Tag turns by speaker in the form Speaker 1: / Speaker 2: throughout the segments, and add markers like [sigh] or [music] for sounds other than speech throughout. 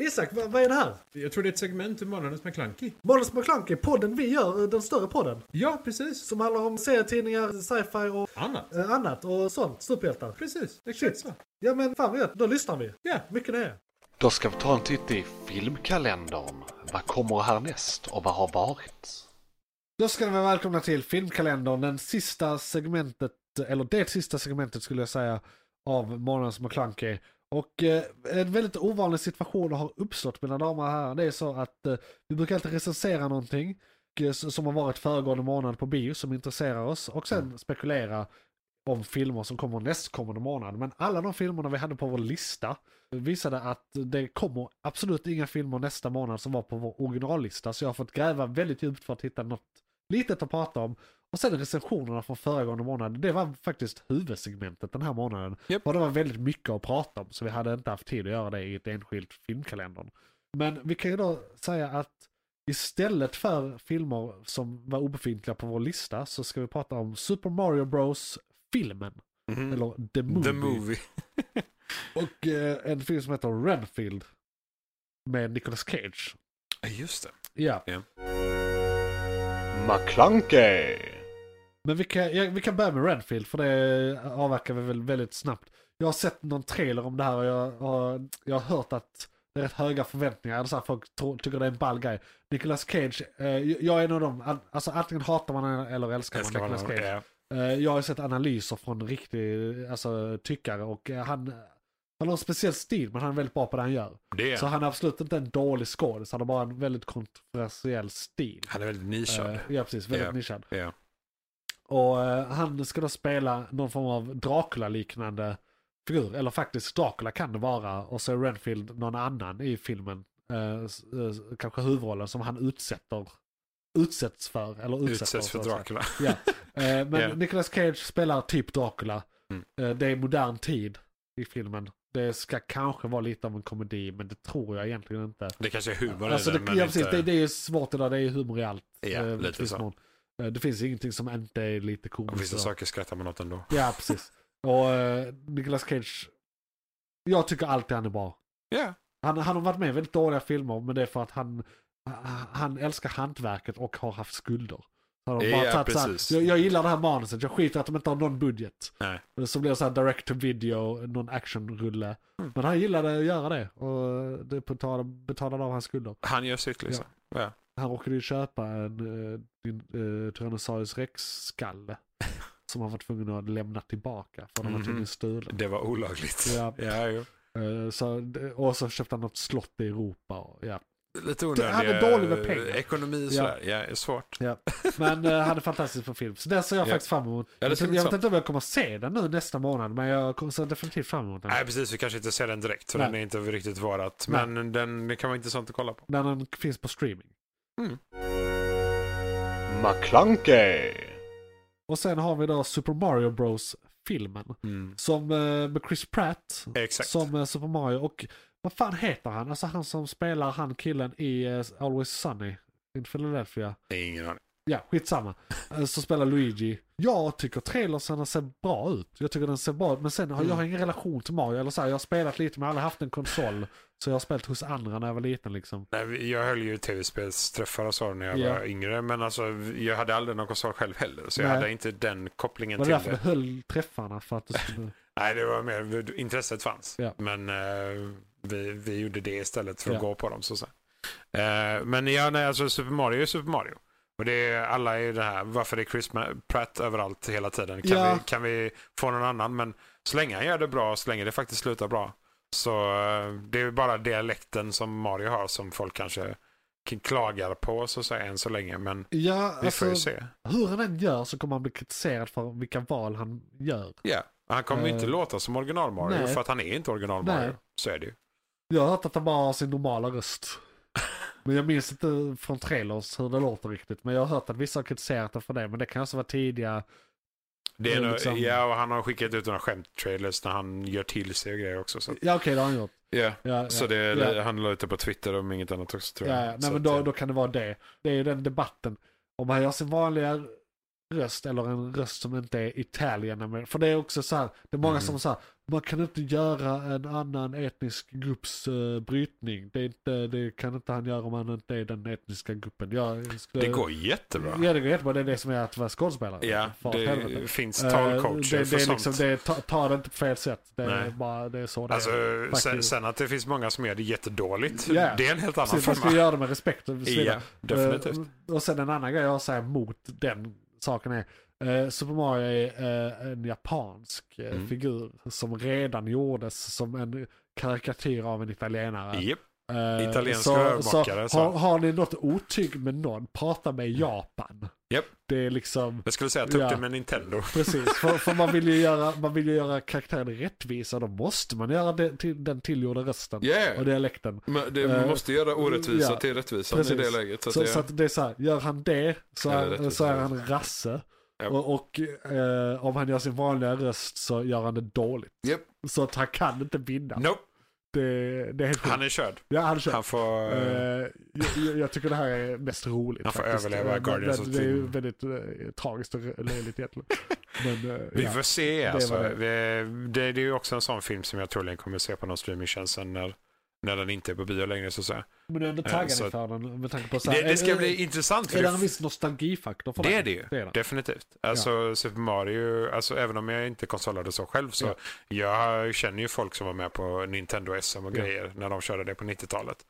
Speaker 1: Isak, vad, vad är det här?
Speaker 2: Jag tror det är ett segment ur Månadens McKlunky.
Speaker 1: Måns McClunky, podden vi gör, eh, den större podden.
Speaker 2: Ja, precis.
Speaker 1: Som handlar om serietidningar, sci-fi och
Speaker 2: Annat.
Speaker 1: eh, annat och sånt. Superhjältar.
Speaker 2: Precis, exakt så.
Speaker 1: Ja men fan vad gött, då lyssnar vi.
Speaker 2: Ja.
Speaker 1: Mycket det.
Speaker 3: Då ska vi ta en titt i filmkalendern. Vad kommer härnäst och vad har varit?
Speaker 1: Då ska ni vara välkomna till filmkalendern, den sista segmentet, eller det sista segmentet skulle jag säga, av Månadens McClunky. Och eh, en väldigt ovanlig situation har uppstått mina damer och herrar. Det är så att eh, vi brukar alltid recensera någonting eh, s- som har varit föregående månad på bio som intresserar oss och sen spekulera om filmer som kommer nästkommande månad. Men alla de filmerna vi hade på vår lista visade att det kommer absolut inga filmer nästa månad som var på vår originallista. Så jag har fått gräva väldigt djupt för att hitta något litet att prata om. Och sen recensionerna från föregående månad, det var faktiskt huvudsegmentet den här månaden.
Speaker 2: Japp.
Speaker 1: Och det var väldigt mycket att prata om, så vi hade inte haft tid att göra det i ett enskilt filmkalendern. Men vi kan ju då säga att istället för filmer som var obefintliga på vår lista så ska vi prata om Super Mario Bros filmen. Eller The Movie.
Speaker 4: Mhm. The Movie.
Speaker 1: Och eh, en film som heter Renfield. Med Nicolas Cage.
Speaker 4: Ja, just det.
Speaker 1: Ja,
Speaker 3: McClunkey!
Speaker 1: men vi kan, ja, vi kan börja med Renfield för det avverkar vi väl väldigt snabbt. Jag har sett någon trailer om det här och jag har, jag har hört att det är rätt höga förväntningar. Eller så här, folk tror, tycker det är en ball grej. Nicolas Cage, eh, jag jag är en av dem. An- Alltså antingen hatar man honom eller älskar man
Speaker 4: Älskar
Speaker 1: Nicolas
Speaker 4: honom.
Speaker 1: Cage.
Speaker 4: Ja.
Speaker 1: Eh, Jag har sett analyser från riktig alltså, tyckare och eh, han, han har en speciell stil men han är väldigt bra på det han gör.
Speaker 4: Det är
Speaker 1: Så
Speaker 4: han.
Speaker 1: han är absolut inte en dålig skådis, han har bara en väldigt kontroversiell stil.
Speaker 4: Han är väldigt nischad.
Speaker 1: Eh, ja, precis. Väldigt
Speaker 4: Ja.
Speaker 1: nischad.
Speaker 4: Ja.
Speaker 1: Och eh, han ska då spela någon form av Dracula-liknande figur. Eller faktiskt Dracula kan det vara. Och så är Renfield någon annan i filmen. Eh, s- eh, kanske huvudrollen som han utsätter, utsätts för. Eller utsätter,
Speaker 4: Utsätts
Speaker 1: så
Speaker 4: för
Speaker 1: att säga.
Speaker 4: Dracula.
Speaker 1: Ja. Eh, men
Speaker 4: Ja.
Speaker 1: Nicolas Cage spelar typ Dracula.
Speaker 4: Mm.
Speaker 1: Eh, det är modern tid i filmen. Det ska kanske vara lite av en komedi, men det tror jag egentligen inte.
Speaker 4: Det kanske är humor
Speaker 1: Alltså
Speaker 4: i
Speaker 1: det,
Speaker 4: den, men
Speaker 1: ja,
Speaker 4: inte...
Speaker 1: precis, det, det är ju svårt idag, det är ju humor i allt.
Speaker 4: Ja,
Speaker 1: eh,
Speaker 4: lite
Speaker 1: finns
Speaker 4: så.
Speaker 1: någon- eh, Det finns ingenting som inte är lite
Speaker 4: Och
Speaker 1: komiskt.
Speaker 4: vissa
Speaker 1: idag.
Speaker 4: saker skrattar man åt ändå.
Speaker 1: Ja, precis. Och eh, Nicolas Cage, jag tycker alltid han är bra.
Speaker 4: Ja.
Speaker 1: Han, han har varit med i väldigt dåliga filmer, men det är för att han, han- han älskar hantverket och har haft skulder. Han har bara
Speaker 4: Ja,
Speaker 1: tagit så här,
Speaker 4: precis.
Speaker 1: jag, jag gillar det här manuset, jag skiter i att de inte har någon budget.
Speaker 4: Nej.
Speaker 1: Så blir det så här direct to video, någon actionrulle.
Speaker 4: Mm.
Speaker 1: Men han gillade att göra det och det betalade, betalade av hans skulder.
Speaker 4: Han gör sitt liksom. Ja.
Speaker 1: Han råkade ju köpa en eh, din, eh, Tyrannosaurus
Speaker 4: [laughs]
Speaker 1: rex-skalle. som han var tvungen att lämna tillbaka för den var
Speaker 4: Mhm.
Speaker 1: tydligen stulen.
Speaker 4: Det var olagligt.
Speaker 1: Ja.
Speaker 4: ja jo.
Speaker 1: Eh, så, det- och så köpte han något slott i Europa. Och, ja.
Speaker 4: Lite
Speaker 1: Det-
Speaker 4: onödiga...
Speaker 1: han är dålig med pengar.
Speaker 4: Ekonomi och
Speaker 1: Ja.
Speaker 4: sådär. Ja, det är svårt.
Speaker 1: Men eh, han är fantastisk på film. Så den ser jag
Speaker 4: Ja.
Speaker 1: faktiskt fram emot.
Speaker 4: Ja, det ska
Speaker 1: jag
Speaker 4: bli
Speaker 1: jag vet
Speaker 4: sant.
Speaker 1: inte om jag kommer se den nu nästa månad men jag kommer- ser definitivt fram emot den.
Speaker 4: Nej, precis. Vi kanske inte ser den direkt, för
Speaker 1: Nej.
Speaker 4: den är inte riktigt varat.
Speaker 1: Nej.
Speaker 4: Men den det kan vara intressant att kolla på.
Speaker 1: När den finns på streaming.
Speaker 3: McClunkey!
Speaker 1: Och sen har vi då Super Mario Bros filmen. Som eh, med Chris Pratt.
Speaker 4: Mm. Exakt.
Speaker 1: Som eh, Super Mario. Och vad fan heter han? Alltså han som spelar han killen i eh, Always Sunny. In Philadelphia.
Speaker 4: Ingen aning.
Speaker 1: Ja, skitsamma. Eh, Så spelar Luigi. Jag tycker trailersarna ser bra ut. Jag tycker den ser bra ut. Men sen har jag har ingen relation till Mario. Eller så här, jag har spelat lite men jag har aldrig haft en konsol. Så jag har spelat hos andra när jag var liten liksom.
Speaker 4: Nej, vi- jag höll ju tv-spelsträffar och så när jag
Speaker 1: Ja.
Speaker 4: var yngre. Men alltså, jag hade aldrig någon konsol själv heller. Så jag
Speaker 1: Nej.
Speaker 4: hade inte den kopplingen
Speaker 1: Var det därför
Speaker 4: till
Speaker 1: du
Speaker 4: det.
Speaker 1: höll träffarna? För att du skulle...
Speaker 4: Nej, det var mer intresset fanns.
Speaker 1: Ja.
Speaker 4: Men eh, vi, vi gjorde det istället för att
Speaker 1: Ja.
Speaker 4: gå på dem. Så att säga. Eh, men ja, nej, alltså Super Mario är Super Mario. Och det är, alla är ju det här, varför är Chris Ma- Pratt överallt hela tiden? Kan,
Speaker 1: Ja.
Speaker 4: vi, kan vi få någon annan? Men så länge han gör det bra, så länge det faktiskt slutar bra. Så eh, det är bara dialekten som Mario har som folk kanske k- klagar på så att säga än så länge. Men
Speaker 1: [laughs] Ja,
Speaker 4: vi får
Speaker 1: alltså
Speaker 4: ju se.
Speaker 1: hur han än gör så kommer han bli kritiserad för vilka val han gör.
Speaker 4: Ja, Han kommer ju inte
Speaker 1: Eh,
Speaker 4: låta som original Mario
Speaker 1: nej.
Speaker 4: för att han är inte original
Speaker 1: Nej.
Speaker 4: Mario. Så är det ju.
Speaker 1: Jag har hört att han bara har sin normala röst. Men jag minns inte från trailers hur det låter riktigt. Men jag har hört att vissa har kritiserat den för det. Men det kan också vara tidiga
Speaker 4: Det är
Speaker 1: Det är
Speaker 4: nog-
Speaker 1: liksom-
Speaker 4: Ja, och han har skickat ut några skämt-trailers när han gör till sig och grejer också. Så, att-
Speaker 1: Ja okej, det har han gjort.
Speaker 4: Ja,
Speaker 1: Ja,
Speaker 4: så
Speaker 1: ja,
Speaker 4: det,
Speaker 1: ja,
Speaker 4: det- han la ut det på Twitter om inget annat också tror
Speaker 1: ja,
Speaker 4: jag.
Speaker 1: ja.
Speaker 4: Så
Speaker 1: Nej men
Speaker 4: att,
Speaker 1: då,
Speaker 4: eh,
Speaker 1: då kan det vara det. Det är ju den debatten. Om han gör sin vanliga röst eller en röst som inte är Italien. men- För det är också så här, det är
Speaker 4: Mm.
Speaker 1: många som säger man kan inte göra en annan etnisk grupps eh, brytning. Det, är inte, det kan inte han göra om han inte är den etniska gruppen. Jag skulle,
Speaker 4: Det går jättebra.
Speaker 1: Ja, det går jättebra. Det är det som är att vara skådespelare.
Speaker 4: Ja,
Speaker 1: För helvete.
Speaker 4: det finns
Speaker 1: Eh,
Speaker 4: talcoacher
Speaker 1: det,
Speaker 4: för
Speaker 1: det är liksom,
Speaker 4: sånt.
Speaker 1: det är, ta, ta det inte på fel sätt. Det är,
Speaker 4: Nej.
Speaker 1: bara, det är så det
Speaker 4: Alltså,
Speaker 1: är.
Speaker 4: sen,
Speaker 1: faktiskt.
Speaker 4: sen att det finns många som gör det jättedåligt,
Speaker 1: Ja.
Speaker 4: det är en helt annan
Speaker 1: Precis, man ska
Speaker 4: femma.
Speaker 1: ju göra det med respekt. Och så vidare.
Speaker 4: Ja, definitivt.
Speaker 1: Eh, och sen en annan grej jag säger mot den saken är eh, Super Mario är eh, en japansk eh,
Speaker 4: Mm.
Speaker 1: figur som redan gjordes som en karikatyr av en italienare.
Speaker 4: Japp.
Speaker 1: Eh,
Speaker 4: Italienska
Speaker 1: så, så.
Speaker 4: rörmakare, så.
Speaker 1: Har, har ni något otyg med någon, prata med Japan.
Speaker 4: Japp.
Speaker 1: Det är liksom,
Speaker 4: Jag skulle säga ta upp
Speaker 1: Ja.
Speaker 4: det med Nintendo.
Speaker 1: precis. För, för man, vill ju göra, man vill ju göra karaktären rättvisa, då måste man göra det, till, den tillgjorda rösten
Speaker 5: Yeah.
Speaker 1: och dialekten.
Speaker 5: Men det,
Speaker 1: Eh,
Speaker 5: man måste göra orättvisa
Speaker 1: ja,
Speaker 5: till rättvisan i det
Speaker 1: precis.
Speaker 5: läget. Så
Speaker 1: Så,
Speaker 5: att
Speaker 1: så,
Speaker 5: det,
Speaker 1: att det är så här, gör han det så,
Speaker 5: Ja, det är
Speaker 1: är,
Speaker 5: rättvist.
Speaker 1: så är han rasse.
Speaker 5: Ja.
Speaker 1: Och, och eh, om han gör sin vanliga röst så gör han det dåligt.
Speaker 5: Japp.
Speaker 1: Så att han kan inte vinna.
Speaker 4: Nope,
Speaker 1: Det, det är helt
Speaker 4: han
Speaker 1: sjukt.
Speaker 4: är körd.
Speaker 1: Ja, han kör.
Speaker 4: Han får...
Speaker 1: Eh, jag, jag tycker det här är mest roligt.
Speaker 4: Han får
Speaker 1: faktiskt.
Speaker 4: överleva
Speaker 1: Eh,
Speaker 4: Guardians
Speaker 1: men,
Speaker 4: of
Speaker 1: Det är
Speaker 4: the-
Speaker 1: ju väldigt eh, tragiskt och löjligt
Speaker 4: [laughs]
Speaker 1: egentligen. Men, eh,
Speaker 4: Vi
Speaker 1: ja.
Speaker 4: får se
Speaker 1: var
Speaker 4: alltså.
Speaker 1: det.
Speaker 4: Det. Det, det, är ju också en sån film som jag troligen kommer se på någon streamingtjänst sen när, när den inte är på bio längre. Så att säga.
Speaker 1: men du är ändå
Speaker 4: eh,
Speaker 1: taggad
Speaker 4: så-
Speaker 1: inför den med tanke på så här, eh,
Speaker 4: Det, det
Speaker 1: är-
Speaker 4: ska
Speaker 1: är-
Speaker 4: bli intressant. För
Speaker 1: Är det en
Speaker 4: det,
Speaker 1: viss nostalgifaktor för
Speaker 4: det
Speaker 1: dig?
Speaker 4: är det ju.
Speaker 1: det är det.
Speaker 4: Definitivt. Alltså Super Mario, alltså, även om jag inte konsolade så själv så jag känner ju folk som var med på Nintendo SM och
Speaker 1: Ja.
Speaker 4: grejer när de körde det på 90-talet.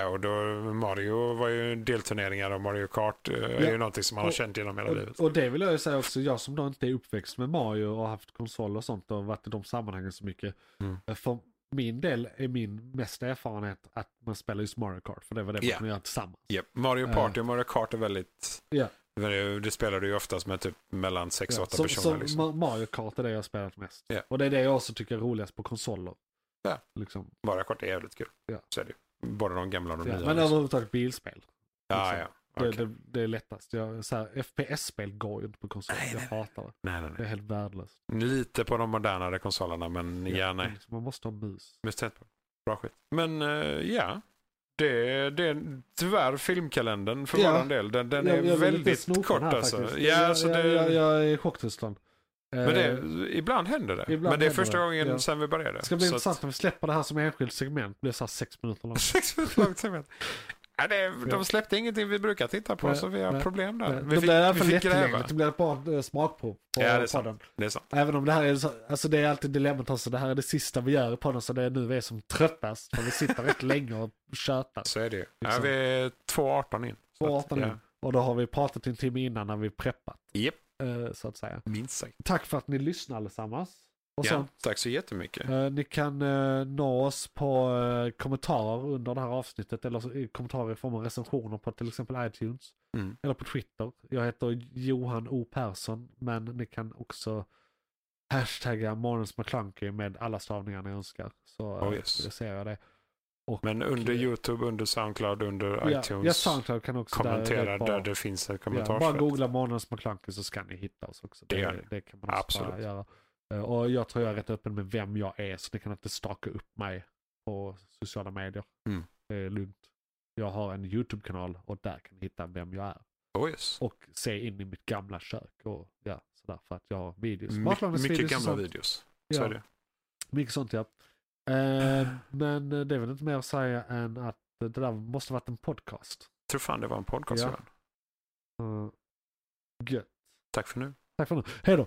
Speaker 4: Eh, och då, Mario var ju delturneringar och Mario Kart eh,
Speaker 1: Ja.
Speaker 4: är ju någonting som man har
Speaker 1: Och-
Speaker 4: känt genom hela livet.
Speaker 1: Och, och det vill jag ju säga också, jag som då inte är uppväxt med Mario och haft konsol och sånt och varit i de sammanhangen så mycket. eh,
Speaker 4: Mm.
Speaker 1: För min del är min mesta erfarenhet att man spelar just Mario Kart, för det var det man
Speaker 4: Ja.
Speaker 1: kunde göra tillsammans.
Speaker 4: Japp, Mario
Speaker 1: Eh.
Speaker 4: Party och Mario Kart är väldigt...
Speaker 1: Ja.
Speaker 4: Men det- Det spelar du ju oftast med typ mellan 6 och 8
Speaker 1: Som,
Speaker 4: personer.
Speaker 1: som
Speaker 4: liksom.
Speaker 1: Ma- Mario Kart är det jag har spelat mest.
Speaker 4: Ja.
Speaker 1: Och det är det jag också tycker är roligast på konsoler.
Speaker 4: Ja.
Speaker 1: Liksom,
Speaker 4: Mario Kart är jävligt kul.
Speaker 1: Ja.
Speaker 4: Så är det ju. Både de gamla och de
Speaker 1: ja.
Speaker 4: nya.
Speaker 1: Men
Speaker 4: liksom.
Speaker 1: överhuvudtaget bilspel.
Speaker 4: ja, ja.
Speaker 1: liksom.
Speaker 4: Okej.
Speaker 1: Det, det, det är lättast. Jag, så här, FPS-spel går ju inte på konsol.
Speaker 4: Nej,
Speaker 1: jag
Speaker 4: nej,
Speaker 1: hatar det.
Speaker 4: Nej, nej,
Speaker 1: Det är helt värdelöst.
Speaker 4: nej. Lite på de modernare konsolerna, men ja, nej.
Speaker 1: Liksom, Man måste ha mus.
Speaker 4: Men sett på. Bra skit. Men eh, ja. Det, det är tyvärr filmkalendern för
Speaker 1: Ja.
Speaker 4: våran del. Den, den
Speaker 1: Jag-
Speaker 4: är
Speaker 1: jag vill inte sno på
Speaker 4: väldigt
Speaker 1: den
Speaker 4: kort
Speaker 1: här
Speaker 4: alltså.
Speaker 1: faktiskt.
Speaker 4: Ja,
Speaker 1: jag,
Speaker 4: alltså
Speaker 1: jag,
Speaker 4: det,
Speaker 1: jag, jag är i Eh, chocktillstånd.
Speaker 4: men det, ibland händer det.
Speaker 1: ibland
Speaker 4: men det är
Speaker 1: händer
Speaker 4: första
Speaker 1: det,
Speaker 4: gången
Speaker 1: ja.
Speaker 4: sen vi började.
Speaker 1: det ska bli
Speaker 4: Så att-
Speaker 1: intressant när vi släpper det här som enskilt segment. Det blir så här sex minuter [laughs] långt.
Speaker 4: Sex minuter långt segment. Ja, det, de släppte ingenting vi brukar titta på
Speaker 1: Nej,
Speaker 4: så vi har
Speaker 1: nej,
Speaker 4: problem där.
Speaker 1: Men
Speaker 4: Vi
Speaker 1: Då blir det i alla fall
Speaker 4: vi fick gräva.
Speaker 1: lättillgängligt. Det blir ett bra eh, smakprov på
Speaker 4: Ja, det är
Speaker 1: podden.
Speaker 4: sant. Det är sant.
Speaker 1: Även om det här är så, alltså det är alltid dilemmat också. Det här är det sista vi gör i podden så det är nu vi är som tröttast. För vi sitter [laughs] rätt länge och tjötar.
Speaker 4: Så är det ju. Ja,
Speaker 1: Liksom.
Speaker 4: vi är 2.18 in. Så att,
Speaker 1: 18
Speaker 4: ja.
Speaker 1: in. Och då har vi pratat en timme innan när vi preppat.
Speaker 4: Japp.
Speaker 1: eh, Så att säga.
Speaker 4: Minst sagt.
Speaker 1: Tack för att ni lyssnar allesammans. Och sen
Speaker 4: Ja, tack så jättemycket.
Speaker 1: Eh, ni kan eh, nå oss på eh, kommentarer under det här avsnittet eller så- i kommentarer i form av recensioner på till exempel iTunes.
Speaker 4: Mm.
Speaker 1: Eller på Twitter. Jag heter Johan O Persson men ni kan också hashtagga Månens McClunky med alla stavningar ni önskar. Så eh,
Speaker 4: Oh, yes.
Speaker 1: det ser jag det.
Speaker 4: Men under
Speaker 1: eh,
Speaker 4: YouTube, under Soundcloud, under
Speaker 1: ja,
Speaker 4: iTunes.
Speaker 1: ja, Soundcloud kan också. där- eh,
Speaker 4: kommentera
Speaker 1: är
Speaker 4: där,
Speaker 1: bara-
Speaker 4: det finns ett
Speaker 1: Ja, bara
Speaker 4: kommentarsfält.
Speaker 1: googla Månens McClunky så ska ni hitta oss också.
Speaker 4: Det gör
Speaker 1: Det,
Speaker 4: ni.
Speaker 1: det kan man också
Speaker 4: Absolut.
Speaker 1: bara göra. Eh, Och jag tror jag är rätt öppen med vem jag är så ni kan inte staka upp mig på sociala medier.
Speaker 4: Mm.
Speaker 1: Det är lugnt. Jag har en YouTube-kanal och där kan ni hitta vem jag är.
Speaker 4: oh, yes.
Speaker 1: Och se in i mitt gamla kök och ja, sådär för att jag har videos.
Speaker 4: My,
Speaker 1: Matlagningsvideos
Speaker 4: mycket
Speaker 1: och
Speaker 4: gamla
Speaker 1: sånt.
Speaker 4: videos. Så
Speaker 1: Ja,
Speaker 4: är det.
Speaker 1: mycket sånt ja. Eh, Men det är väl inte mer att säga än att det där måste varit en podcast.
Speaker 4: Tror fan det var en podcast.
Speaker 1: Ja.
Speaker 4: Johan.
Speaker 1: Eh, Gött.
Speaker 4: Tack för nu.
Speaker 1: Tack för nu. Hej då.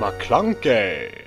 Speaker 3: McClunkey!